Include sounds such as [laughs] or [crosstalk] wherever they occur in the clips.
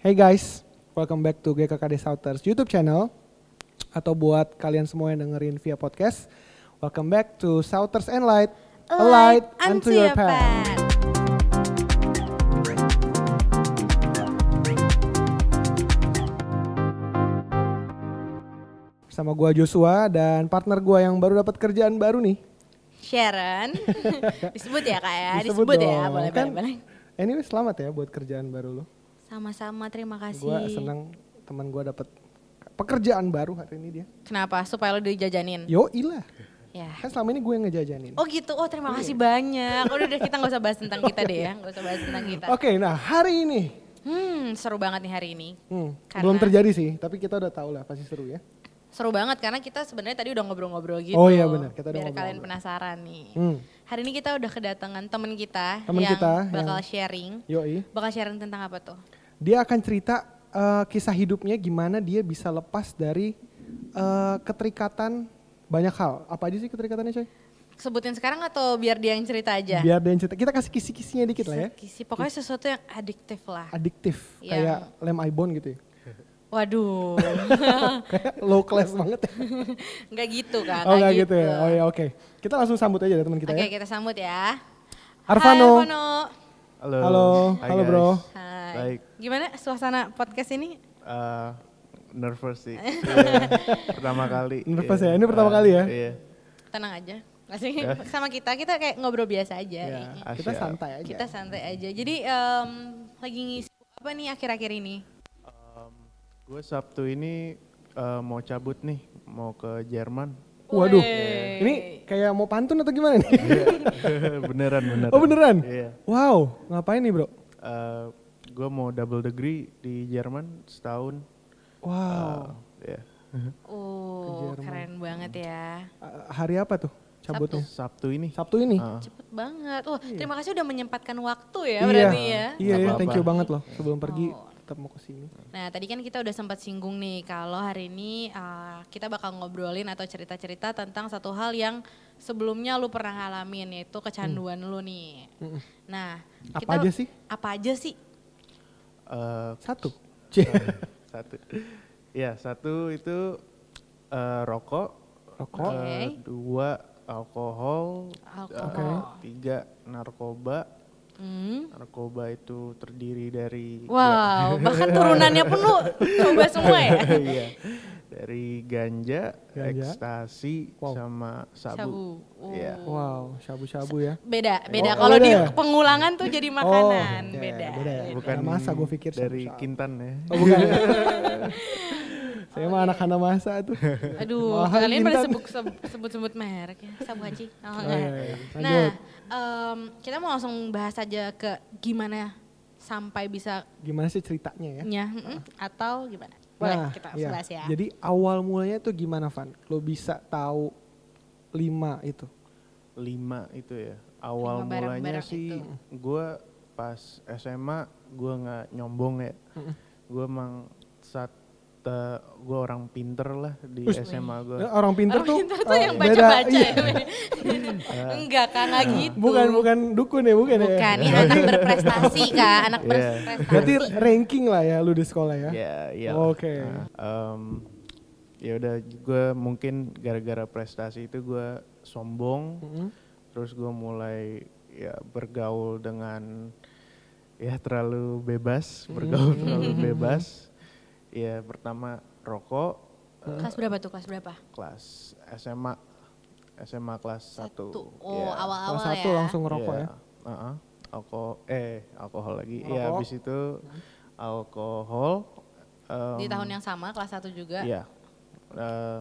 Hey guys, welcome back to GKKD Southers YouTube channel atau buat kalian semua yang dengerin via podcast, welcome back to Southers and Light, a light unto your path. Sama gua Joshua dan partner gua yang baru dapat kerjaan baru nih. Sharon. [laughs] Disebut ya kak ya, disebut, Disebut ya, dong, boleh, kan? boleh, boleh. Anyway, selamat ya buat kerjaan baru lo. Sama-sama, terima kasih. Gua senang teman gua dapat pekerjaan baru hari ini dia. Kenapa? Supaya lo dijajanin? Yo ilah, Ya. kan selama ini gue yang ngejajanin. Oh gitu, oh terima kasih banyak. Udah, udah kita nggak usah bahas tentang kita deh ya, nggak usah bahas tentang kita. Oke, nah hari ini Hmm, seru banget nih hari ini. hmm, Karena- Iya. belum terjadi sih, tapi kita udah tahu lah pasti seru ya. Seru banget karena kita sebenarnya tadi udah ngobrol-ngobrol gitu. Oh iya, benar. Kita udah Biar ngobrol-ngobrol. kalian penasaran nih. Hmm. Hari ini kita udah kedatangan temen kita Temen yang kita bakal yang- sharing. Yoi, Bakal sharing tentang apa tuh? dia akan cerita eh, kisah hidupnya gimana dia bisa lepas dari eh, keterikatan banyak hal. Apa aja sih keterikatannya coy? Sebutin sekarang atau biar dia yang cerita aja? Biar dia yang cerita. Kita kasih kisi-kisinya dikit lah ya. Kisi, pokoknya sesuatu yang adiktif lah. Adiktif, Yang- kayak lem ibon gitu [laughs] ya. [laughs] Waduh, kayak low class banget ya. nggak gitu kak. Oh nggak nggak gitu ya. Oh ya oke. Kita langsung sambut aja deh teman kita Oke ya. kita sambut ya. Arvano. Hai Arvano. Halo. Halo, Hai, halo guys. bro. Hai. Baik. Gimana suasana podcast ini? Eh, nervous sih. Iya. pertama kali. Nervous iya. ya? Ini pertama Eh, kali ya? Iya. Tenang aja. Masih [laughs] sama kita, kita kayak ngobrol biasa aja. Ya, Iya. kita Asia. santai aja. Kita santai aja. Jadi em, lagi ngisi apa nih akhir-akhir ini? Gue Sabtu ini eh, mau cabut nih, mau ke Jerman. [laughs] Waduh, Wey. ini kayak mau pantun atau gimana nih? Iya. [laughs] beneran beneran. Oh beneran? Iya. Wow, ngapain nih bro? gue mau double degree di Jerman setahun. Wow, Iya. Oh keren banget ya. Eh, hari apa tuh cabutnya? Sabtu ini. Sabtu ini? Ah. Cepet banget. Wah terima kasih udah menyempatkan waktu ya iya, berarti ya. iya, Nggak iya, apa-apa. thank you banget loh. Sebelum pergi tetap mau kesini. Nah, tadi kan kita udah sempat singgung nih kalau hari ini uh, kita bakal ngobrolin atau cerita-cerita tentang satu hal yang sebelumnya lu pernah ngalamin yaitu kecanduan lu nih. Nah, Hmm. Apa aja sih? Apa aja sih? Eh, [laughs] Satu. C. satu. Iya satu itu eh, rokok. Rokok. Oke. Eh, dua alkohol, Oh. Alkohol. eh, tiga narkoba. Hmm. Narkoba itu terdiri dari Wow, bahkan turunannya pun lu coba semua ya. [laughs] Iya. dari ganja, Ganja. ekstasi, Wow. sama sabu. Sabu. Oh. Iya. Wow, shabu-shabu ya. Beda, beda. Oh, kalau di beda ya? pengulangan tuh jadi makanan, ya, beda. beda ya. Bukan Ada masa gua pikir dari sabu-sabu. Kintan ya. Oh bukan. Saya mah anak anak masa [laughs] tuh. Aduh, Mahal kalian pada Intan. sebut sebut sebut merek ya, sabu [laughs] haji. Oh, Oh, enggak. iya, iya. Nah, Lanjut. em, kita mau langsung bahas aja ke gimana sampai bisa Gimana sih ceritanya ya? nya mm, atau gimana? Boleh Nah, kita iya. bahas ya. Jadi awal mulanya tuh gimana Van? Lo bisa tahu lima itu? Lima itu ya. Lima Awal mulanya barang-barang sih itu. gua pas SMA gua nggak nyombong ya. Gua emang saat gue orang pinter lah di SMA gue. Eh, Orang pinter tuh, Orang pintar Oh, tuh eh, yang beda. baca-baca Iya. ya. [laughs] Enggak kan, enggak gitu. Bukan bukan dukun ya, bukan, ya. Bukan, ini anak berprestasi kak, anak Iya. berprestasi. Berarti ranking lah ya lu di sekolah ya. Ya, iya. Oke. Ah. Nah, em, ya udah gue mungkin gara-gara prestasi itu gue sombong. Mm-hmm. Terus gue mulai ya bergaul dengan ya terlalu bebas, bergaul terlalu bebas. Ya pertama rokok Kelas berapa tuh, kelas berapa? kelas SMA SMA kelas 1. Oh, Iya. Kelas awal-awal satu ya. langsung ngerokok ya. Alkohol eh alkohol lagi. Ya Rokok. habis itu alkohol em, Di tahun yang sama, kelas satu juga. Hmm, Iya. Eh,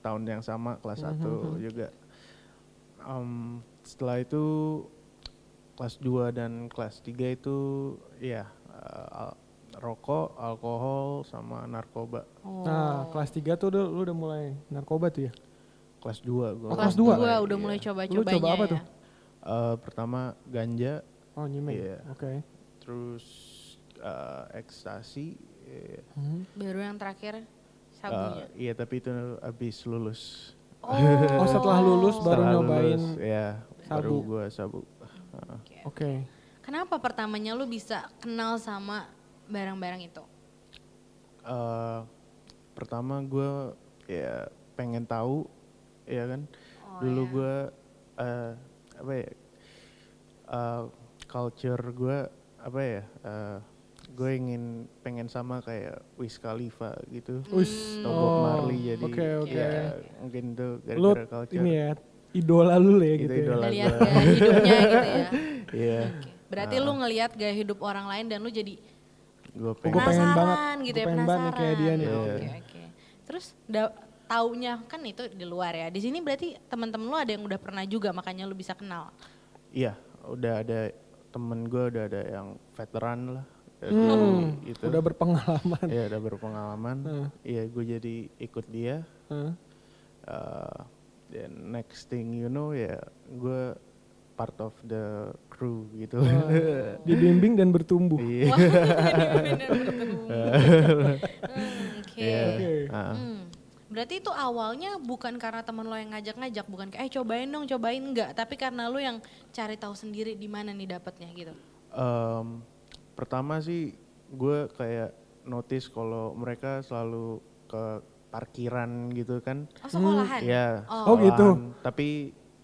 tahun yang sama kelas 1 juga. Em, setelah itu kelas 2 dan kelas 3 itu ya eh, al- rokok, alkohol sama narkoba. Oh. Nah, kelas 3 tuh udah, lu udah mulai narkoba tuh ya. Kelas 2 gua. Oh, kelas kelas dua. Iya. dua udah mulai Lu coba-cobanya coba apa ya. tuh? Eh, pertama ganja, Oh, nyimeng. Iya. Oke. [laughs] terus eh, ekstasi. eh, Baru yang terakhir ya. eh, Ah. sabunya. Iya, tapi itu habis lulus. Oh, setelah lulus baru Setelah nyobain. lulus, ya, baru sabu. gua sabu. Oke. Kenapa pertamanya lu bisa kenal sama barang-barang itu? eh, pertama gue ya pengen tahu ya kan Oh, dulu iya. gue eh, apa ya eh, culture gue apa ya gue ingin pengen sama kayak Wiz Khalifa gitu Hmm. Wis. atau Bob Oh, Marley jadi Oke, oke. ya mungkin tuh Lu gara-gara culture ini ya idola lu lah ya Itu gitu. ya. idola. Iya. Udah Lagu. lihat gaya hidupnya gitu [laughs] ya. Iya, Oke. Berarti lu ngelihat gaya hidup orang lain dan lu jadi gue Ah. Oh, pengen gua pengen banget, penasaran gitu gua ya, pengen banget penasaran. nih kayak dia nih. Oke, Iya. oke. Terus da- taunya kan itu di luar ya. Di sini berarti teman-teman lu ada yang udah pernah juga makanya lu bisa [laughs] kenal. Iya, udah ada temen gue udah ada yang veteran lah. Jadi Hmm. itu. Udah [laughs] berpengalaman. Iya, udah berpengalaman. Iya, gue jadi ikut dia. Heeh. Eh, dan next thing you know ya gue part of the crew gitu. Oh. Dibimbing dan bertumbuh. Oke. Iya. Wah, [laughs] bener-bener ketemu. Hmm, Oke. Iya. Ah, Hmm. Berarti itu awalnya bukan karena teman lo yang ngajak-ngajak, bukan kayak eh cobain dong, cobain enggak, tapi karena lo yang cari tahu sendiri di mana nih dapatnya gitu. [laughs] em, pertama sih gue kayak notice kalau mereka selalu ke parkiran gitu kan. Oh, sekolahan. Iya. Oh, gitu. sekolahan. Tapi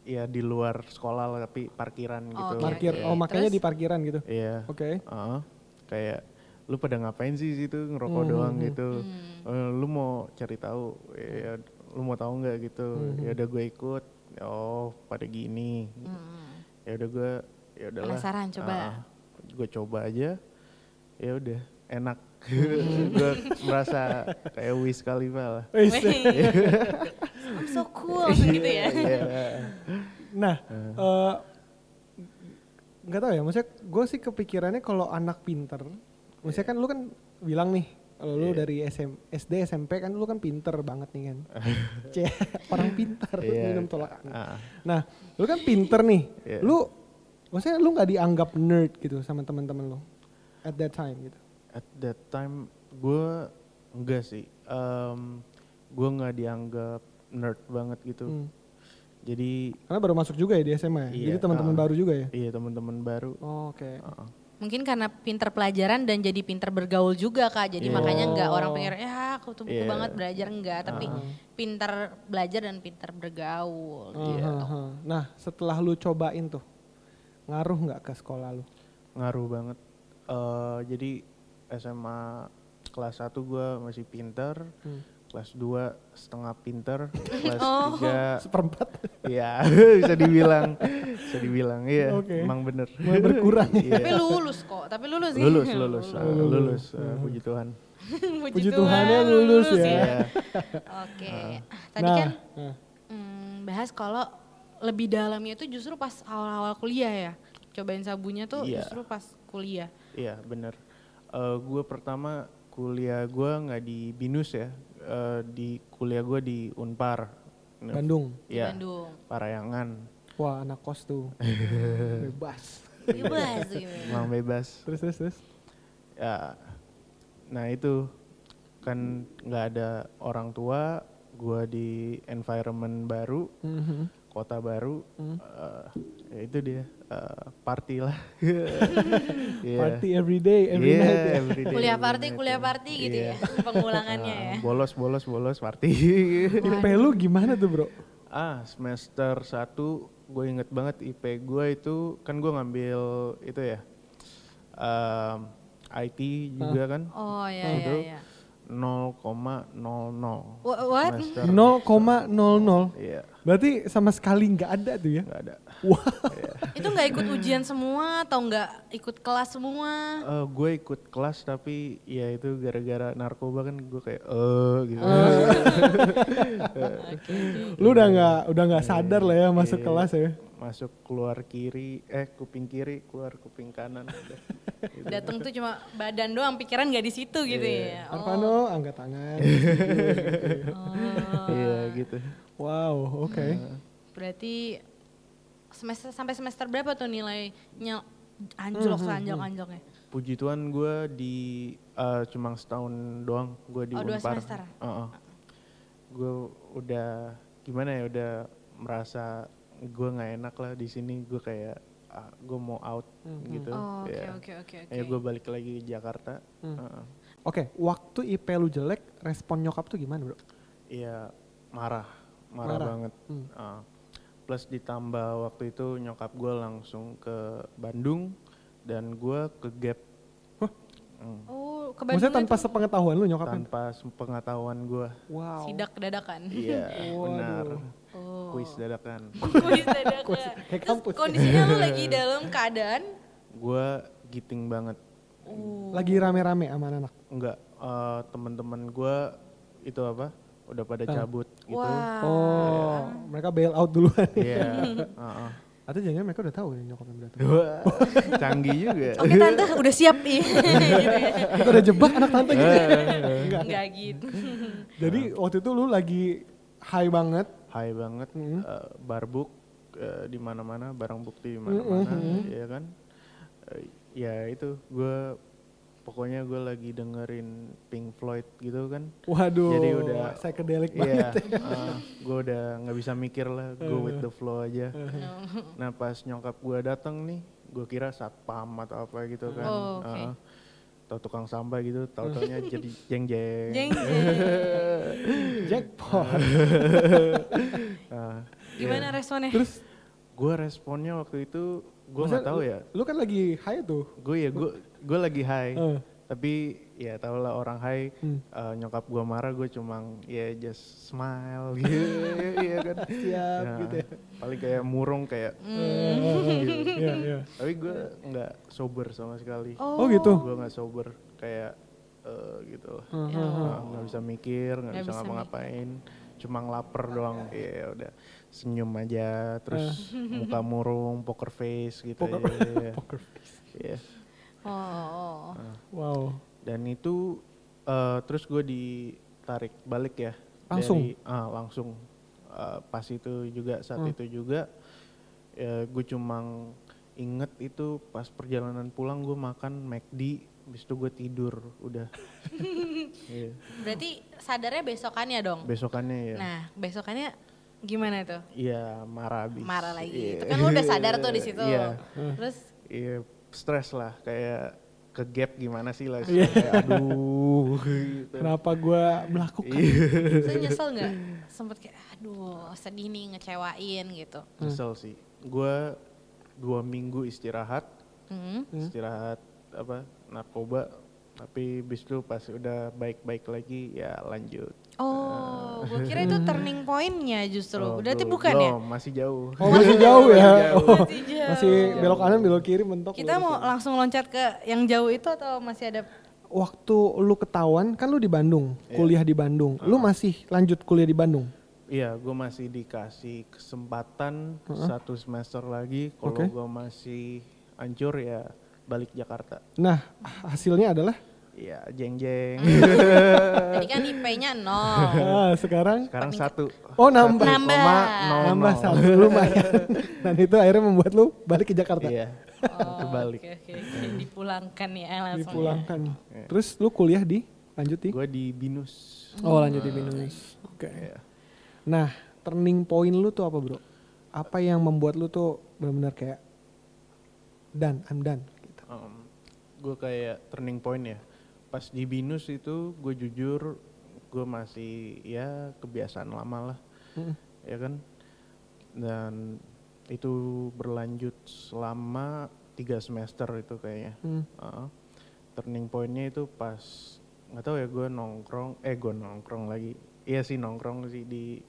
ya di luar sekolah lah, tapi parkiran gitu. Oke, Parkir. oke. Oh makanya Iya, Terus? di parkiran gitu. Iya. Oke. Heeh. kayak lu pada ngapain sih situ ngerokok doang gitu. Eh, lu mau cari tahu ya lu mau tahu nggak gitu. Ya udah gue ikut. Oh, pada gini. Ya udah gue ya udahlah. Penasaran, coba. Ah, gue coba aja. Ya udah, enak. [laughs] gue merasa kayak Wiz Khalifa lah. Wis. Wih, [laughs] I'm so cool gitu Iya, ya. Nah, eh, nggak tahu ya. Maksudnya gue sih kepikirannya kalau anak pinter, Iya. maksudnya kan lu kan bilang nih, kalau lu dari SM, SD SMP kan lu kan pinter banget nih [laughs] kan. Cie, orang pinter Iya. minum tolak angin. Ah. Nah, lu kan pinter nih. Iya. Lu, maksudnya lu nggak dianggap nerd gitu sama teman-teman lu at that time gitu. At that time gue enggak sih, gue nggak dianggap nerd banget gitu. Hmm. Jadi Karena baru masuk juga ya di SMA ya. Iya, Jadi teman-teman ah. Oh, baru juga ya. iya teman-teman baru. Oke. Mungkin karena pinter pelajaran dan jadi pinter bergaul juga kak. Jadi Iya. makanya nggak orang pikir ya aku tuh buku Iya. Ah, banget belajar enggak, tapi pinter belajar dan pinter bergaul. Iya. gitu. Aha. Nah, setelah lu cobain tuh, ngaruh nggak ke sekolah lu? Ngaruh banget. Eh, jadi SMA kelas 1 gue masih pinter, kelas 2 setengah pinter, kelas 3 Seperempat. ya [laughs] bisa dibilang, bisa dibilang iya, Oke. emang bener. [laughs] Mulai berkurang ya. Tapi lulus kok, tapi lulus sih. Lulus, [laughs] lulus, ah, lulus, ah, puji Tuhan. Puji Tuhannya lulus ya. Iya. Oke, Ah, tadi nah, kan nah. hmm, bahas kalau lebih dalamnya itu justru pas awal-awal kuliah ya. Cobain sabunya tuh Iya. justru pas kuliah. Iya bener. gue pertama kuliah gue nggak di binus ya, Eh, di kuliah gue di Unpar. Nah. Bandung. di Iya. Bandung. Parayangan, Wah, anak kos [laughs] tuh. Bebas. Bebas gitu. emang bebas. Terus, terus, terus. Ya, nah itu kan nggak ada orang tua, gue di environment baru, Mhm. kota baru, Hmm. eh, ya itu dia eh, party [laughs] lah. Iya. Party every day, every Iya, night. ya. every day, kuliah every party, night, kuliah iya. party gitu Iya. ya pengulangannya ya. Ah, Bolos, bolos, bolos, party. [laughs] IP lu gimana tuh, Bro? ah, semester 1 gue inget banget IP gue itu, kan gue ngambil itu ya, em, IT juga kan, [laughs] Oh ya ya Itu. ya. 0,00 Wha- What? Iya. semester. 0,00. Iya, Berarti sama sekali nggak ada tuh ya? nggak ada. Wah, Itu nggak ikut ujian semua atau nggak ikut kelas semua? Eh, gue ikut kelas tapi ya itu gara-gara narkoba kan gue kayak eh gitu. Ah. lu udah nggak udah nggak sadar lah ya masuk kelas ya. Masuk keluar kiri, eh kuping kiri, keluar kuping [laughs] kanan. udah. Datang tuh cuma badan doang, pikiran nggak di situ gitu ya. Oh, Arvano angkat [laughs] tangan. oh. Iya gitu. wow, oke. berarti semester sampai semester berapa tuh nilainya Hmm, anjlok seanjlok-anjloknya? Puji Tuhan gue di eh, cuma setahun doang gue di Oh, dua Unpar. semester? Gue udah gimana ya udah merasa gue nggak enak lah di sini gue kayak ah, gue mau out gitu. Oh, Oke Ya. oke oke oke. Ya gue balik lagi ke Jakarta. Heeh. Oke, waktu IP lu jelek, respon nyokap tuh gimana bro? Iya marah, marah, Marah. banget. Hmm. Ah. plus ditambah waktu itu nyokap gue langsung ke Bandung dan gue ke Gap. Hah? Hmm, Oh, ke Bandung Maksudnya tanpa itu sepengetahuan lu nyokapnya? tanpa pengetahuan gue. Wow. [laughs] sidak dadakan. [laughs] Iya Waduh. benar. Oh. Kuis dadakan. Kuis dadakan. kayak Terus kampus. kondisinya lu [laughs] lagi dalam keadaan Gue giting banget. uh, Lagi rame-rame sama anak. Enggak eh, teman-teman gue itu apa? Udah pada cabut gitu. wah. Oh, mereka bail out duluan. [laughs] Iya. [laughs] ah, ah. Atau jangan mereka udah tahu ya nih nyokapnya berarti. Wah, Canggih juga. Oke [laughs] tante udah siap ih. gitu ya. Kita udah jebak anak tante gitu. Iya, Enggak. Iya. Enggak gitu. [laughs] Jadi waktu itu lu lagi high banget. High banget. Mhm. eh, barbuk eh, di mana-mana, barang bukti di mana-mana, ya kan? Eh, ya itu gue pokoknya gue lagi dengerin Pink Floyd gitu kan. Waduh. Jadi udah psychedelic banget. [laughs] Iya, gue udah nggak bisa mikir lah, go with the flow aja. Nah pas nyokap gue datang nih, gue kira satpam atau apa gitu kan, Oh, oke. Heeh. atau tukang sampah gitu, tau taunya [laughs] jadi jeng jeng. Jeng Iya. Jackpot. Gimana responnya? Terus gue Ah, responnya waktu itu gue nggak maksudnya tahu lu- ya, Lu kan lagi high tuh. gue ya gue gue lagi high, Eh. tapi ya tau lah orang high. Hmm. eh, nyokap gue marah, gue cuma ya just smile [laughs] gitu, iya kan. Siap Ya, gitu ya. Paling kayak murung kayak Hmm. [laughs] gitu. Iya, iya. tapi gue nggak sober sama sekali Oh gitu. Hmm, gue nggak sober kayak eh, gitu lah. Nah, nggak bisa mikir nggak Nggak bisa bisa ngapa-ngapain cuma ngelapar doang ya udah senyum aja terus muka murung poker face gitu Eh. Poker- ya, ya, ya. [laughs] Poker face. Iya. Oh. Wow. dan itu eh, terus gue ditarik balik ya Langsung? dari- ah, langsung Eh, pas itu juga saat itu juga gue cuma inget itu pas perjalanan pulang gue makan McD habis itu gue tidur [laughs] udah Iya. Berarti sadarnya besokannya dong. besokannya iya. ya Nah, besokannya gimana tuh? iya marah abis Marah lagi. Iya. Itu kan lu udah sadar tuh di situ. Iya. [laughs] Terus iya stres lah kayak ke gap gimana sih lah kayak aduh gitu. Kenapa gua melakukan? terus nyesel nggak? Sempet kayak aduh sedih nih ngecewain gitu. Nyesel sih. Gue dua minggu istirahat, Hmm. istirahat apa narkoba. Tapi bis itu pas udah baik-baik lagi ya lanjut. Oh, gue kira [laughs] itu turning pointnya justru. Oh, Berarti belum- bukan ya? belum, masih jauh. Oh, masih [laughs] jauh ya. jauh. Oh, Masih jauh. masih belok kanan, belok kiri mentok. Kita mau langsung loncat ke yang jauh itu atau masih ada? waktu lu ketahuan kan lu di Bandung, kuliah di Bandung. Lu masih lanjut kuliah di Bandung. Iya, gue masih dikasih kesempatan Hmm. satu semester lagi. Kalau Oke. gue masih hancur ya balik Jakarta. Nah, hasilnya adalah Iya, jeng-jeng. Tadi kan IP-nya nol. ah, sekarang [laughs] Sekarang satu. oh nambah Nambah. koma nol nambah nol. satu lumayan. Dan itu akhirnya membuat lu balik ke Jakarta. Iya, Oh, kebalik. Oke, oke, oke. Dipulangkan ya langsung. Dipulangkan. Terus lu kuliah di lanjut di Gue di Binus. Oh, lanjut di Binus. Oke. Iya. Nah, turning point lu tuh apa, Bro? Apa yang membuat lu tuh benar-benar kayak done, I'm done gitu. gue kayak turning point ya. Pas di Binus itu gue jujur gue masih ya kebiasaan lama lah, ya kan. Dan itu berlanjut selama tiga semester itu kayaknya. Hmm. Heeh. Turning pointnya itu pas nggak tahu ya gue nongkrong, eh gue nongkrong lagi. Iya sih nongkrong sih di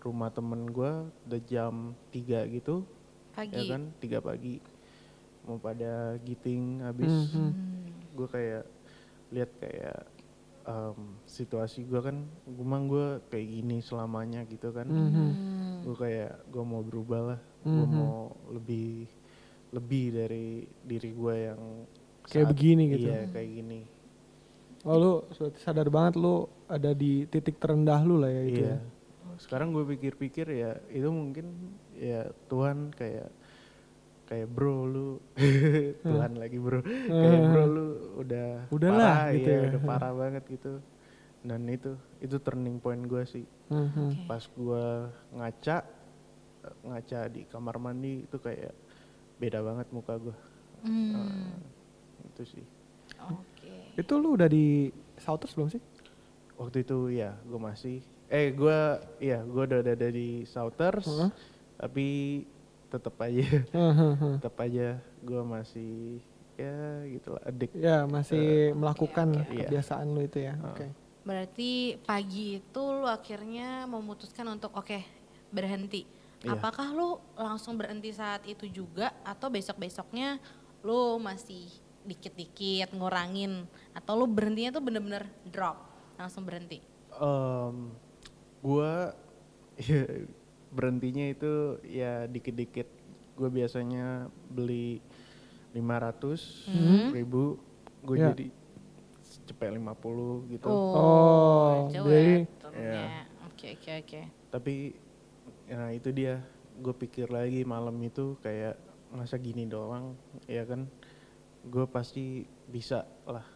rumah temen gue udah jam 3 gitu Pagi. ya kan tiga pagi mau pada giting habis Mm-hmm. Mhm. gue kayak lihat kayak em, situasi gue kan gumang gue kayak gini selamanya gitu kan Mhm. Mm-hmm. Hmm, gue kayak gue mau berubah lah gue mau lebih lebih dari diri gue yang Kayak saat- begini gitu. iya kayak gini Oh, lu sadar banget lu ada di titik terendah lu lah ya itu. Iya. ya. Sekarang gue pikir-pikir ya itu mungkin ya Tuhan kayak kayak bro lu [laughs] Tuhan lagi bro kayak bro lu udah Udahlah, parah gitu iya, ya. udah parah banget gitu dan itu itu turning point gue sih Mhm. pas gue ngaca eh, ngaca di kamar mandi itu kayak beda banget muka gue Hmm, itu sih Oke. Itu Itu lu udah di Southers belum sih? Waktu itu ya gue masih eh gue ya gue udah ada di Southers Heeh. tapi tetap aja Hmm. Hehehe. tetap aja gue masih ya gitulah adik ya masih melakukan iya. Ah. kebiasaan lu itu ya. Oke. Berarti pagi itu lu akhirnya memutuskan untuk oke berhenti. Iya. Apakah lu langsung berhenti saat itu juga atau besok-besoknya lu masih dikit-dikit ngurangin atau lu berhentinya tuh bener-bener drop, langsung berhenti. Em, gua gue berhentinya itu ya dikit-dikit. Gue biasanya beli 500 ribu, gue Ya. jadi cepet 50 gitu. Oh, jadi- cuek ya, turunnya. Iya. Oke, oke, oke. Tapi nah itu dia, gue pikir lagi malam itu kayak masa gini doang, ya kan? Gue pasti bisa lah.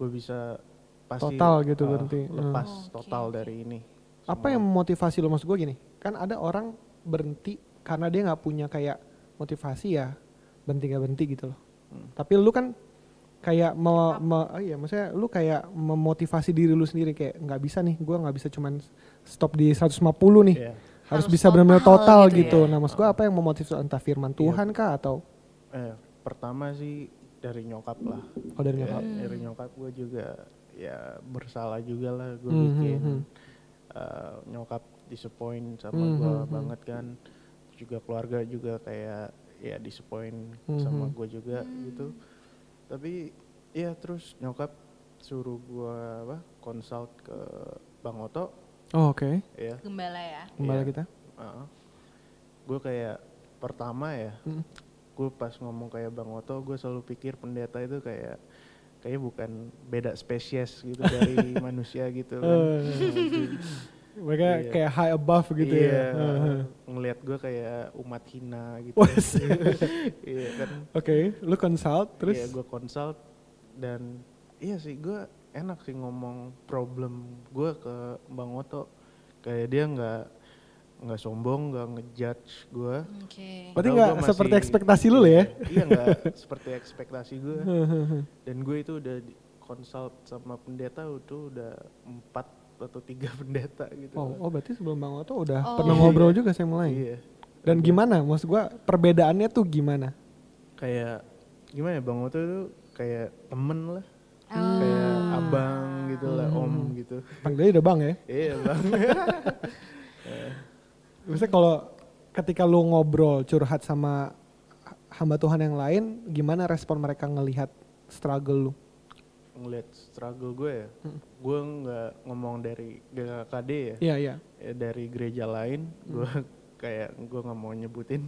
gue bisa pasti Total gitu eh, berarti. Hmm. lepas Oh, oke, total oke. dari ini Apa Hmm. yang memotivasi lu maksud gue gini? Kan ada orang berhenti karena dia nggak punya kayak motivasi ya berhenti nggak berhenti gitu loh. Hmm. Tapi lu kan kayak me, me- oh iya maksudnya lu kayak memotivasi diri lu sendiri kayak nggak bisa nih gue nggak bisa cuman stop di 150 nih Iya. Ah. harus, Harus bisa benar-benar total total gitu, gitu ya. nah maksud gue apa yang memotivasi lu? entah firman Iya. Tuhan kah atau Eh, pertama sih dari nyokap lah. oh dari Ya, nyokap dari nyokap gue juga ya bersalah juga lah gue Hmm, bikin hmm, hmm. eh, nyokap disappoint sama Hmm, gue hmm, hmm. banget kan. Juga keluarga juga kayak ya disappoint Hmm, sama hmm. gue juga gitu. Tapi ya terus nyokap suruh gue apa consult ke Bang Oto oh, oke ya. Gembala ya. kembali Iya. kita Gue kayak pertama ya Mm. gue pas ngomong kayak Bang Oto, gue selalu pikir pendeta itu kayak kayak bukan beda spesies gitu [laughs] dari manusia gitu Oh, kan. mereka Iya. kayak high above iya, gitu iya, ya Heeh. ngelihat gue kayak umat hina gitu. Wes. [laughs] iya kan. [laughs] oke lu consult terus Iya, gue consult dan iya sih gue enak sih ngomong problem gue ke Bang Oto. Kayak dia nggak nggak sombong, nggak ngejudge gue. Berarti Oke. Padahal nggak gua seperti masih- ekspektasi lu lah ya? Iya nggak seperti ekspektasi [laughs] gue. Hehehe. Dan gue itu udah di consult sama pendeta itu udah empat atau tiga [laughs] pendeta gitu. oh, oh berarti sebelum Bang Oto udah Oh. pernah ngobrol juga saya mulai Iya. dan gimana maksud gue perbedaannya tuh gimana Kayak gimana ya Bang Oto itu kayak temen lah. Kayak abang gitu lah, om Hmm. gitu. panggilnya udah bang ya Iya bang. Maksudnya kalau ketika lu ngobrol curhat sama hamba Tuhan yang lain, gimana respon mereka ngelihat struggle lu? Ngeliat struggle gue ya. Gue nggak ngomong dari GKKD ya. Hmm. Iya, Hmm. iya. Ya, dari gereja lain. Gue kayak gue nggak mau nyebutin.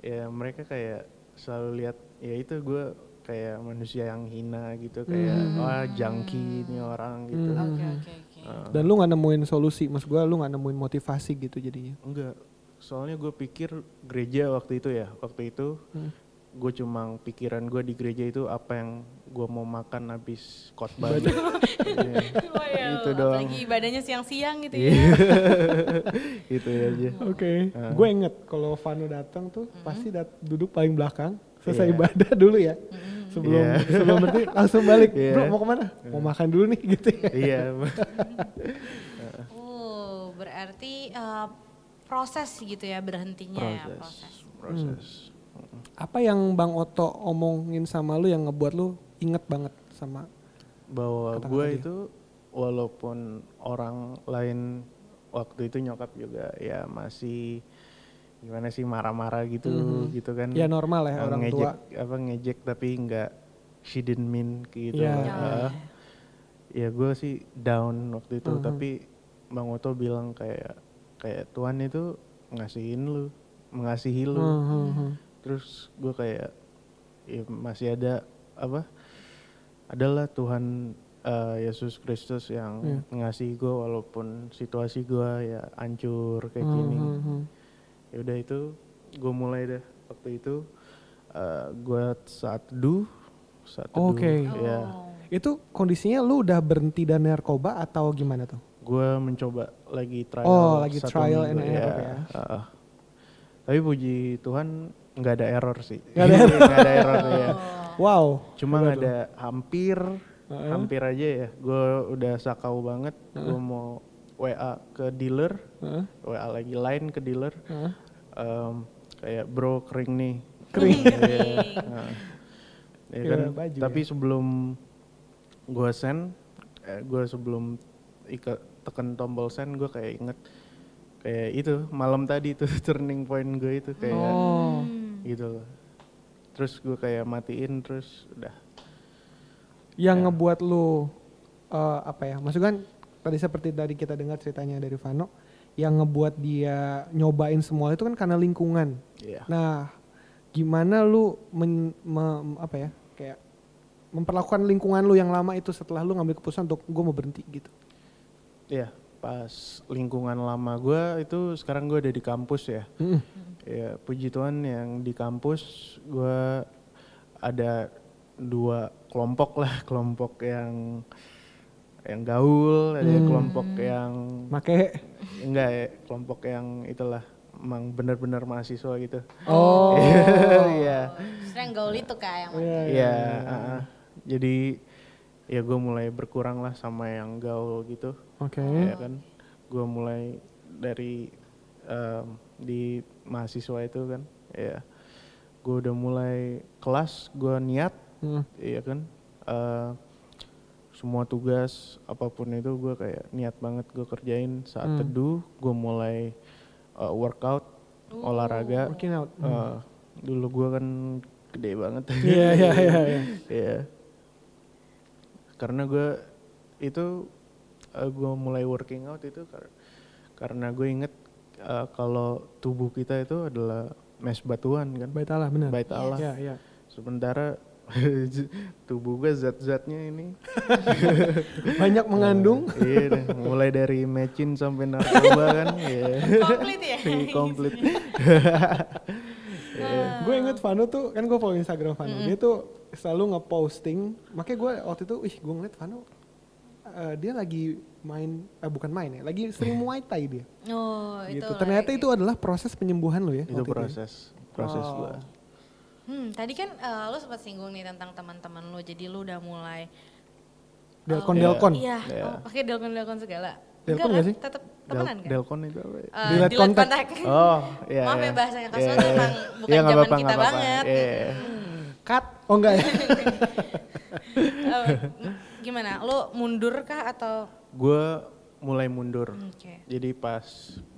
Iya, ya mereka kayak selalu lihat ya itu gue kayak manusia yang hina gitu kayak wah junkie ini orang gitu Oke, Hmm. oke, oke. [laughs] Ah, Dan lu nggak nemuin solusi, maksud gua lu nggak nemuin motivasi gitu jadinya. enggak soalnya gue pikir gereja waktu itu ya waktu itu gue cuma pikiran gue di gereja itu apa yang gue mau makan habis khotbah Iya, Wah, ya Itu Allah, doang. Apalagi ibadahnya siang-siang gitu ya. Iya. itu gitu aja Oke. Eh. Gue inget kalau Vano datang tuh pasti dat- duduk paling belakang selesai Iya. ibadah [laughs] dulu ya. Sebelum Iya. sebelum berarti langsung balik. Iya. Bro mau kemana? Mau makan dulu nih [laughs] gitu. ya. iya [laughs] Oh, berarti eh, proses gitu ya berhentinya ya proses. proses proses Apa yang Bang Oto omongin sama lu yang ngebuat lu inget banget sama bahwa Kata-kata gue dia. itu walaupun orang lain waktu itu nyokap juga ya masih gimana sih marah-marah gitu gitu kan Ya, normal ya, Eh, orang ngejek, tua. apa ngejek tapi nggak she didn't mean gitu Ya. Eh, ya gue sih down waktu Mm-hmm. itu tapi bang Oto bilang kayak kayak Tuhan itu ngasihin lu mengasihi lu Mhm. terus gue kayak ya masih ada apa adalah Tuhan eh, Yesus Kristus yang Iya. ngasihi gue walaupun situasi gue ya hancur kayak gini Mhm. ya udah itu gue mulai deh waktu itu eh, gue saat teduh saat teduh Oke. ya Oh. Itu kondisinya lu udah berhenti dari narkoba atau gimana tuh? gue mencoba lagi trial Oh, lagi satu trial and minggu, error ya. heeh. tapi puji Tuhan nggak ada error sih [laughs] Nggak ada error. Nggak ada error ya Oh. Wow. Cuma Coba ada hampir, Heeh. hampir aja ya. Gue udah sakau banget. Gue mau WA ke dealer, Heeh. WA lagi line ke dealer. Heeh. Em, kayak bro kering nih. Kering. Kering. Nah, ya Kayak kan? baju Tapi sebelum gue send, gue sebelum ike- tekan tombol send, gue kayak inget kayak itu malam tadi itu [laughs] turning point gue itu kayak Oh. Hmm. gitu loh. Terus gue kayak matiin terus udah. Yang ngebuat lu eh, apa ya? Maksudnya kan tadi seperti tadi kita dengar ceritanya dari Vano, yang ngebuat dia nyobain semua itu kan karena lingkungan. Iya. Nah, gimana lu men, me- apa ya? Kayak memperlakukan lingkungan lu yang lama itu setelah lu ngambil keputusan untuk gue mau berhenti gitu. Iya, pas lingkungan lama gue itu sekarang gue ada di kampus ya. Hmm. Ya, puji Tuhan yang di kampus gue ada dua kelompok lah, [laughs] kelompok yang yang gaul, ada kelompok yang Make enggak ya, kelompok yang itulah emang benar-benar mahasiswa gitu. Oh. [laughs] Iya. Sering gaul itu kayak [laughs] Iya. Iya, heeh. jadi ya gue mulai berkurang lah sama yang gaul gitu, Oke. ya kan. Gue mulai dari em, di mahasiswa itu kan, ya. Gue udah mulai kelas, gue niat, Hmm. ya kan. Eh, semua tugas apapun itu gue kayak niat banget gue kerjain saat Hmm. teduh, gue mulai eh, workout, olahraga. Working out. Eh, dulu gue kan gede banget. Iya, iya, iya, iya. Iya. Karena gue itu gue mulai working out itu kar- karena gue inget eh, kalau tubuh kita itu adalah mes batuan kan, Baik Allah benar. bait Allah. Iya, iya. Sementara [laughs] tubuh gue zat-zatnya ini Banyak mengandung. eh, [laughs] iya deh, mulai dari mecin sampai narkoba kan iya [laughs] komplit ya. komplit Iya. gue inget Vano tuh kan gue follow Instagram Vano dia tuh selalu ngeposting makanya gue waktu itu ih gue ngeliat Vano eh, dia lagi main eh, bukan main ya lagi sering muay thai dia Iya. Oh, itu. gitu ternyata itu adalah proses penyembuhan lo ya itu waktu proses proses Wow. gue Hmm, tadi kan eh, lu sempat singgung nih tentang teman-teman lu. Jadi lu udah mulai delkon Iya. delkon Iya, Iya. oh, pakai delkon-delkon segala. Delkon Enggak nggak kan? sih? Tetap Del- temenan kan? Delcon itu apa Eh, ya? Delete delete contact. kontak. [laughs] Oh, iya. Maaf ya iya. bahasanya Kak Iya, Sosno iya. emang bukan Iya, nggak zaman kita apa-apa, nggak apa-apa. banget. Hmm. Iya, iya. cut oh enggak [laughs] ya [laughs] Eh, gimana? Lu mundur kah atau Hmm, Gue mulai mundur. Oke. Jadi pas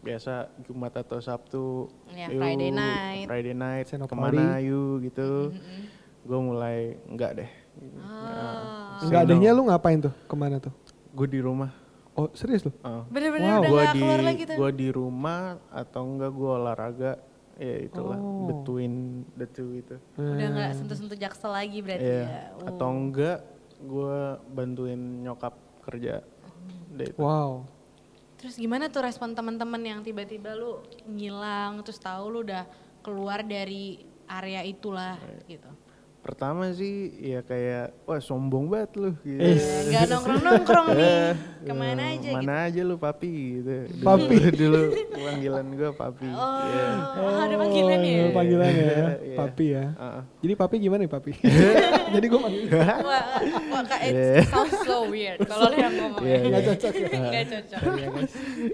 biasa Jumat atau Sabtu, Iya, Friday night. Hmm, Friday night, Senopati. kemana yuk gitu. Gue mulai enggak deh. Oh. enggak adanya lu ngapain tuh kemana tuh Gue di rumah. oh serius lu Oh. bener-bener udah Gua gak di keluar lagi tuh? gua di rumah atau enggak gue olahraga ya itulah Oh. between the two itu. Udah gak sentuh-sentuh jaksel lagi berarti Iya. ya. Atau enggak gue bantuin nyokap kerja. Udah itu. wow Terus gimana tuh respon teman-teman yang tiba-tiba lu ngilang terus tahu lu udah keluar dari area itulah gitu. Pertama sih ya kayak wah sombong banget lu gitu. [laughs] Gak nongkrong-nongkrong nih. Kemana Eh, aja gitu. Mana aja lu papi gitu. Dulu- Papi. [laughs] dulu panggilan gue papi. Oh, Iya. Oh, ah, ada panggilan ya. Lu panggilan ya Iya. papi ya Heeh. jadi papi gimana nih [laughs] papi jadi gue manggil Wah, wah kak, it sounds so weird kalau lu yang ngomong. Iya, Gak iya. cocok. Gak cocok.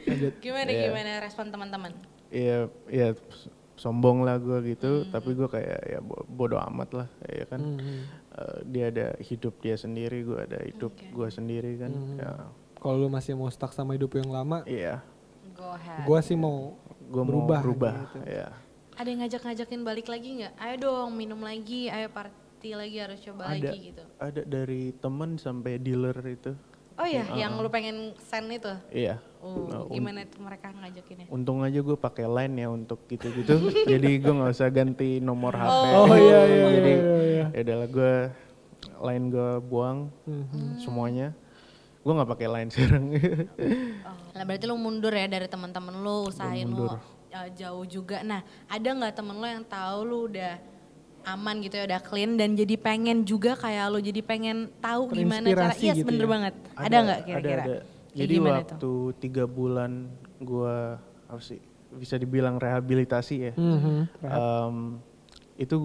Lanjut. Gimana Iya. gimana respon teman-teman? ya ya sombong lah gue gitu Hmm. tapi gue kayak ya bo- bodo amat lah ya kan Hmm. Eh, dia ada hidup dia sendiri gue ada hidup gue sendiri kan ya kalau lu masih mau stuck sama hidup yang lama iya Go ahead. gue sih mau gue mau Berubah, berubah, ya Ada yang ngajak-ngajakin balik lagi nggak? Ayo dong minum lagi, ayo party lagi harus coba ada lagi gitu. ada dari temen sampai dealer itu Oh iya, yang lu pengen send itu. iya Oh, Nah, un- gimana tuh mereka ngajakinnya? Oh. untung aja gue pakai line ya untuk gitu-gitu [laughs] jadi gue nggak usah ganti nomor hp Oh, iya, iya, jadi iya, iya. ya udahlah gue line gue buang Mhm. semuanya gue nggak pakai line [laughs] sekarang Lah berarti lu mundur ya dari teman-teman lu, usahain lu uh, jauh juga. Nah, ada nggak temen lu yang tahu lu udah aman gitu ya, udah clean dan jadi pengen juga kayak lu jadi pengen tahu gimana cara. Terinspirasi Iya, gitu bener ya. banget. Ada nggak kira-kira? ada. Kayak Jadi gimana waktu tiga bulan gua apa Mm-hmm. sih bisa dibilang rehabilitasi ya. Em, itu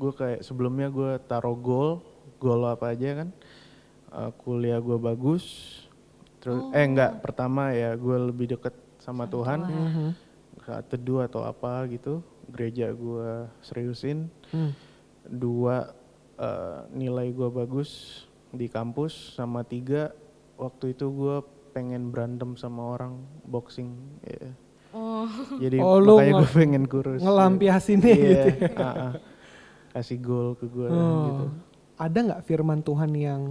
gue kayak sebelumnya gue taruh goal goal apa aja kan Eh, kuliah gue bagus terus eh enggak pertama ya gue lebih deket sama, Tuhan, saat teduh atau apa gitu gereja gue seriusin Hmm. dua eh, nilai gue bagus di kampus sama tiga waktu itu gue pengen berantem sama orang boxing ya. Oh, jadi Oh, lu makanya gue ngel- pengen kurus Ngelampiasinnya Iya, gitu. ah-ah. kasih gol ke gue Oh. gitu Ada nggak firman Tuhan yang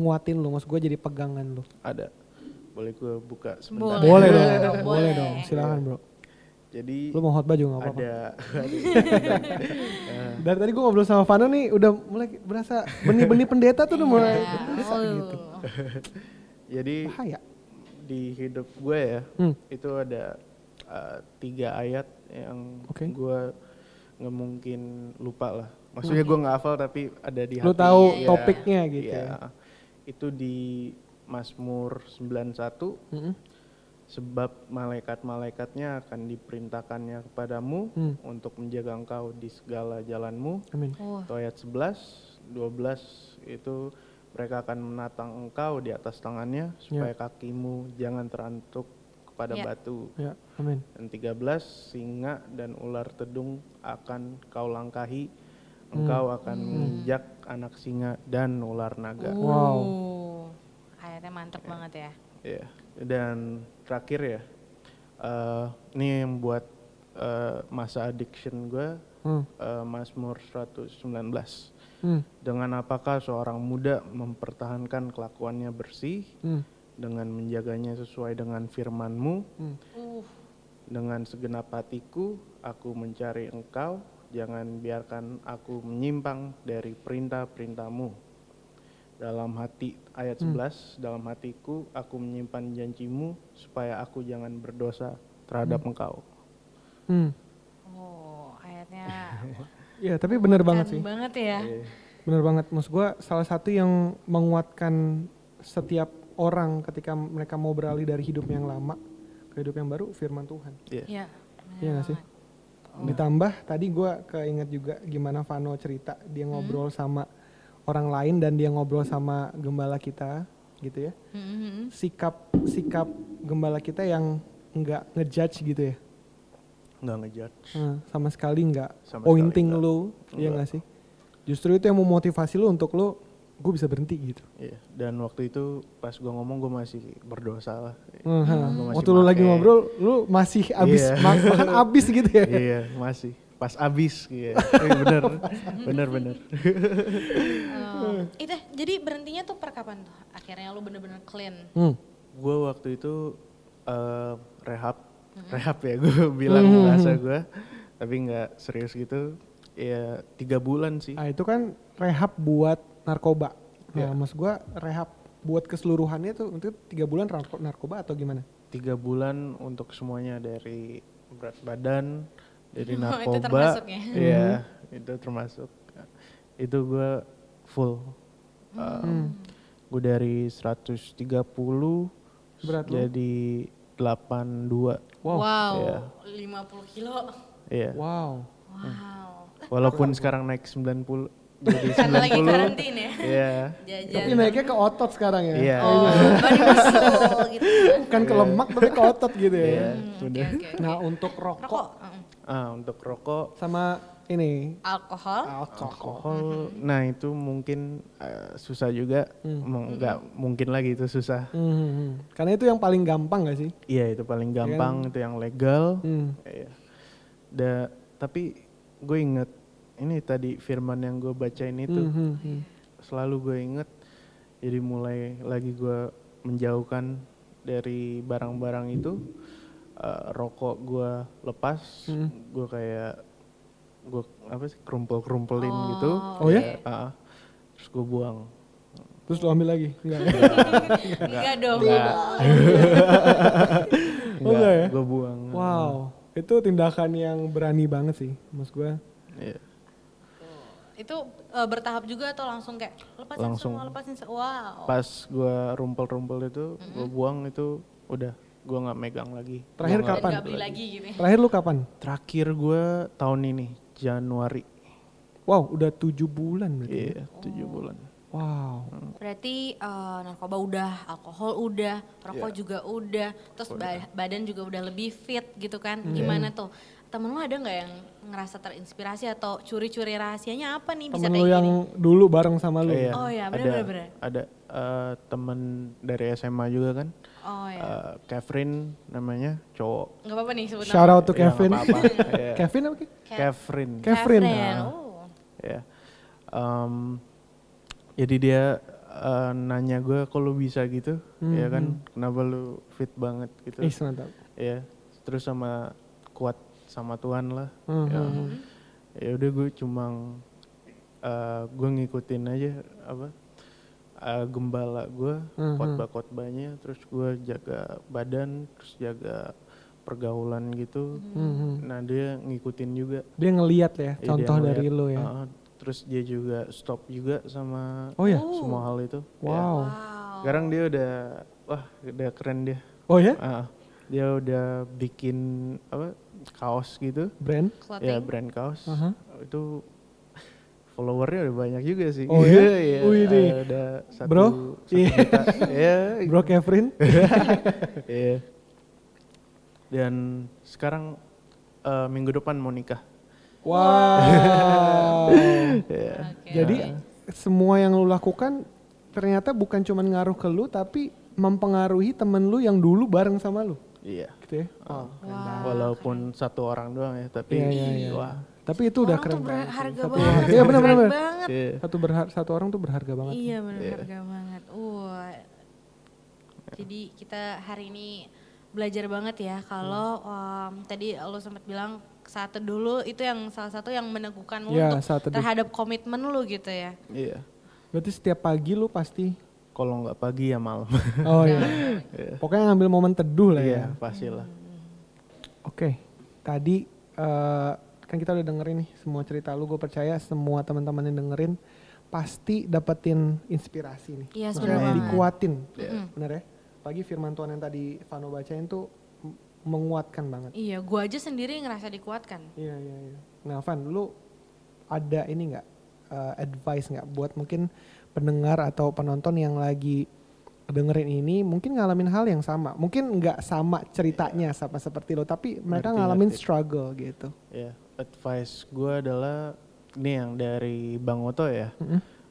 nguatin lu? Maksud gue jadi pegangan lu. ada boleh gue buka sebentar ya? boleh. Boleh dong. Boleh, boleh. dong. Silakan bro. jadi Lu mau khotbah juga nggak apa-apa. ada [laughs] Dari tadi gue ngobrol sama Vano nih udah mulai berasa [laughs] benih-benih pendeta tuh udah mulai Iya. berasa Oh. gitu. jadi Bahaya. di hidup gue ya Hmm. itu ada uh, tiga ayat yang Oke. gue nggak mungkin lupa lah maksudnya gue nggak hafal tapi ada di Lu hati. tahu Iya, topiknya gitu iya. itu di Mazmur 91 Mm-mm. sebab malaikat-malaikatnya akan diperintahkannya kepadamu Hmm. untuk menjaga engkau di segala jalanmu Amin. Oh, itu ayat 11 12 itu mereka akan menatang engkau di atas tangannya supaya kakimu jangan terantuk kepada Ya. batu Ya, amin. dan 13 singa dan ular tedung akan kau langkahi engkau akan menginjak anak singa dan ular naga Wow. Uh, Ayatnya mantep banget ya. Iya. dan terakhir ya eh, ini yang buat eh, masa addiction gue Hmm. eh, Mazmur 119 Hmm. Dengan apakah seorang muda mempertahankan kelakuannya bersih Hmm. dengan menjaganya sesuai dengan firman-Mu, Hmm. Uh, dengan segenap hatiku aku mencari Engkau, jangan biarkan aku menyimpang dari perintah-perintah-Mu. Dalam hati ayat Hmm. 11, dalam hatiku aku menyimpan janjimu supaya aku jangan berdosa terhadap Engkau. Hmm. oh, ayatnya Ya, tapi bener [laughs] banget keren sih. Iya. banget ya. Eh, Bener banget, maksud gue salah satu yang menguatkan setiap orang ketika mereka mau beralih dari hidup yang lama ke hidup yang baru, firman Tuhan. Iya. Iya. bener Iya nggak sih? banget. Ditambah tadi gue keinget juga gimana Vano cerita, dia ngobrol sama orang lain dan dia ngobrol sama gembala kita gitu ya. Hmm, hmm, hmm. Sikap sikap gembala kita yang nggak ngejudge gitu ya. Nggak ngejudge. Hmm, sama sekali nggak Sama pointing sekali lu, iya nggak sih? Justru itu yang memotivasi lu untuk lu, gue bisa berhenti gitu. Iya. Dan waktu itu pas gua ngomong gua masih berdosa lah. Hmm, ha. Gua masih Waktu lu lagi make. ngobrol, lu masih [laughs] abis Iya. ma- makan abis gitu ya. iya masih pas abis [laughs] iya Eh, bener bener bener Oh, itu jadi berhentinya tuh per kapan tuh? Akhirnya lu bener-bener clean. Hmm. gue waktu itu eh, rehab rehab ya gue [laughs] bilang bahasa gue tapi nggak serius gitu ya tiga bulan sih Nah, itu kan rehab buat narkoba. Nah, maksud gua rehab buat keseluruhannya tuh untuk tiga bulan narko- narkoba atau gimana? tiga bulan untuk semuanya dari berat badan Oh, [laughs] itu dari narkoba termasuk ya? iya Mm-hmm. itu termasuk itu gue full Mm-hmm. gue dari 130 Berat lu? jadi 82 Wow, Wow. 50 kilo. Iya. Wow. Wow. Walaupun sekarang naik 90 jadi Karena lagi 90. karantina ya. Iya. Jajan. Tapi naiknya ke otot sekarang ya. Iya. Oh, body muscle gitu. Bukan ke lemak tapi ke otot gitu ya. Iya, Hmm, Oke, bener. oke, oke. Nah, untuk rokok Rokok. mm. Ah, untuk rokok, sama ini Alkohol. Ah, alkohol. Hmm, alkohol. Nah, itu mungkin eh, susah juga. Hmm, Mau- nggak mungkin lagi itu susah. Hmm, hmm, hmm. Karena itu yang paling gampang gak sih? Iya, itu paling gampang, itu yang legal. kan? Hmm. Iya. Da- tapi gue inget ini tadi firman yang gue bacain itu Hmm, hmm, hmm. selalu gue inget jadi mulai lagi gue menjauhkan dari barang-barang itu eh, rokok gue lepas Hmm. gue kayak gue apa sih kerumpul kerumpulin gitu Oh ya? Ah, terus gue buang Terus lu ambil lagi? Enggak. [laughs] Enggak dong. Oh, enggak ya? gue buang Wow, Hmm. itu tindakan yang berani banget sih, mas gue. Iya. Itu eh, bertahap juga atau langsung kayak lepasin Langsung. semua, lepasin semua. Wow. pas gue rumpel-rumpel itu gue buang itu udah gue nggak megang lagi Terakhir Gua nggak- kapan? Enggak beli lagi gitu. Terakhir lu kapan? terakhir gue tahun ini Januari Wow, udah tujuh bulan berarti. ya? Iya, tujuh bulan. Wow. Berarti eh, narkoba udah, alkohol udah, rokok Iya. juga udah, terus ba- badan juga udah lebih fit gitu kan. Gimana tuh? Temen lu ada nggak yang ngerasa terinspirasi atau curi-curi rahasianya apa nih bisa Temen kayak lu yang gini? dulu bareng sama lu. Oh iya, ada- bener-bener. Ada eh, temen dari SMA juga kan, Oh ya. eh, Catherine namanya, cowok. nggak apa-apa nih sebut Shout nama. out to Iya, nggak Kevin. apa-apa. [laughs] Iya. Kevin apa? Ki? Catherine. Ke- Catherine. Oh. Ya. Em, jadi dia eh, nanya gue kok lu bisa gitu, ya kan? Kenapa lu fit banget gitu? Ih, mantap. Ya. Terus sama kuat sama Tuhan lah. Hmm, Ya. Ya udah gue cuma eh, gue ngikutin aja apa eh, gembala gue, Mhm. khotbah-khotbahnya, terus gue jaga badan, terus jaga pergaulan gitu. Hmm, hmm. Nah dia ngikutin juga. Dia ngeliat ya, Iya, dia contoh ngeliat, dari lu ya. uh, terus dia juga stop juga sama Oh ya. semua hal itu. Ya. Wow. Wow. Sekarang dia udah wah udah keren dia. Oh ya? Ah, dia udah bikin apa kaos gitu. Brand? Clothing. Ya brand kaos. Aha. Itu followernya udah banyak juga sih. Oh ya? [laughs] Iya, Wih, deh. ada- ada satu, Bro? satu Iya. juta. Iya, [laughs] Bro [laughs] Kevin? iya. Dan sekarang eh, minggu depan mau nikah. Wow. [laughs] Iya. Oke. Jadi semua yang lu lakukan ternyata bukan cuman ngaruh ke lu tapi mempengaruhi temen lu yang dulu bareng sama lu. Iya. Gitu ya. Wow. Wah, Walaupun satu orang doang ya, tapi Iya, iya, iya. wah. Tapi itu udah orang keren tuh banget. berharga Satu banget. orang- Iya benar benar. keren benar. banget. Iya. Satu berhar- satu orang tuh berharga banget. Iya benar harga banget. Wah. Jadi kita hari ini belajar banget ya kalau um, Hmm. tadi lo sempat bilang saat dulu itu yang salah satu yang meneguhkan lo Iya, untuk saat teduh. terhadap komitmen lo gitu ya. Iya. Berarti setiap pagi lu [laughs] pasti Kalau nggak pagi ya malam. Oh iya. Pokoknya ngambil momen teduh lah ya. Iya, pastilah. Oke, tadi eh, kan kita udah dengerin nih semua cerita lu. Gue percaya semua teman-teman yang dengerin pasti dapetin inspirasi nih. Iya, Maksudnya bener banget. dikuatin, bener ya? Pagi firman Tuhan yang tadi Vano bacain tuh m- menguatkan banget. Iya, gua aja sendiri ngerasa dikuatkan. Iya iya iya. Nah Van, lu ada ini nggak eh, advice nggak buat mungkin pendengar atau penonton yang lagi dengerin ini mungkin ngalamin hal yang sama. Mungkin nggak sama ceritanya sama seperti lo, tapi mereka Iya. Ngerti, ngalamin ngerti. struggle gitu. Iya. Advice gue adalah ini yang dari Bang Oto ya.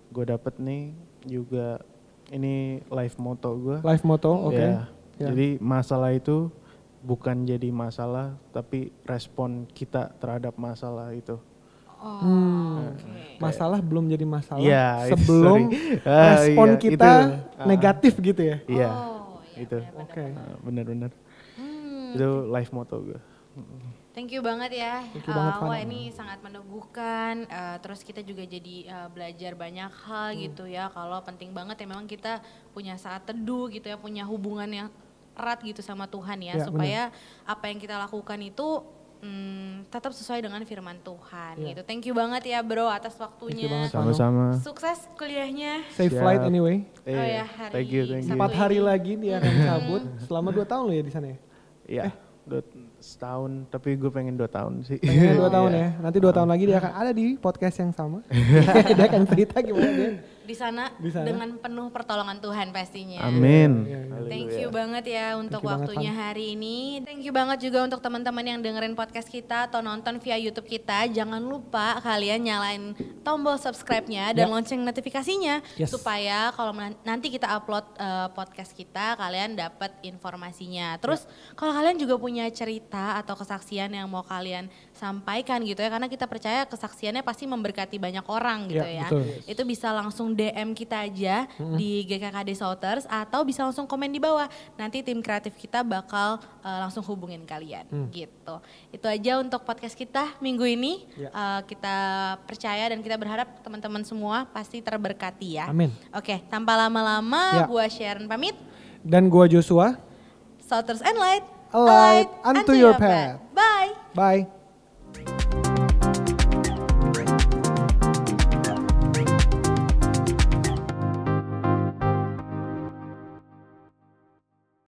Gue dapet nih juga ini live moto gue. Life motto, oke. Iya. Iya. Jadi masalah itu bukan jadi masalah, tapi respon kita terhadap masalah itu. Oh, oke. Masalah belum jadi masalah [laughs] Iya, itu, sebelum sorry. [laughs] Ah, respon iya, kita itu. Ah. negatif gitu ya. Iya. Oh, iya, Itu. bener-bener. Oke. Nah, Bener-bener. Hmm, Itu live moto gue. Thank you banget ya. Thank you banget, Eh, wah Van. ini sangat meneguhkan. eh, terus kita juga jadi eh, belajar banyak hal gitu ya. Kalau penting banget ya memang kita punya saat teduh gitu ya, punya hubungan yang erat gitu sama Tuhan ya, Ya, supaya apa yang kita lakukan itu mm, tetap sesuai dengan firman Tuhan gitu. Thank you banget ya bro atas waktunya. banget. Sama-sama. Sukses kuliahnya. Safe Siap. flight anyway. Oh ya, Iya. hari Thank you, thank you. Sabtu Empat hari lagi dia akan cabut. Selama dua tahun lo ya di sana ya. Iya, dua setahun. Tapi gue pengen dua tahun sih. Pengennya dua Iya. tahun ya. Nanti dua tahun lagi dia akan ada di podcast yang [laughs] sama. dia akan cerita gimana dia. di sana, Di sana. dengan penuh pertolongan Tuhan pastinya. Amin. Iya, iya. Thank you Haleluya. banget ya untuk you banget, waktunya hari ini. Thank you banget juga untuk teman-teman yang dengerin podcast kita atau nonton via YouTube kita. Jangan lupa kalian nyalain tombol subscribe-nya dan lonceng notifikasinya Ya. Yes. supaya kalau men- nanti kita upload eh, podcast kita kalian dapat informasinya. Terus Ya. kalau kalian juga punya cerita atau kesaksian yang mau kalian sampaikan gitu ya karena kita percaya kesaksiannya pasti memberkati banyak orang gitu Ya, ya. betul. Itu bisa langsung DM kita aja di GKKD Souters atau bisa langsung komen di bawah. Nanti tim kreatif kita bakal uh, langsung hubungin kalian Hmm. gitu. Itu aja untuk podcast kita minggu ini. Ya. Uh, kita percaya dan kita berharap teman-teman semua pasti terberkati ya. Amin. Oke, tanpa lama-lama Ya. gua Sharon pamit. Dan gua Joshua. Souters and Light. A light unto your path. Bye. Bye.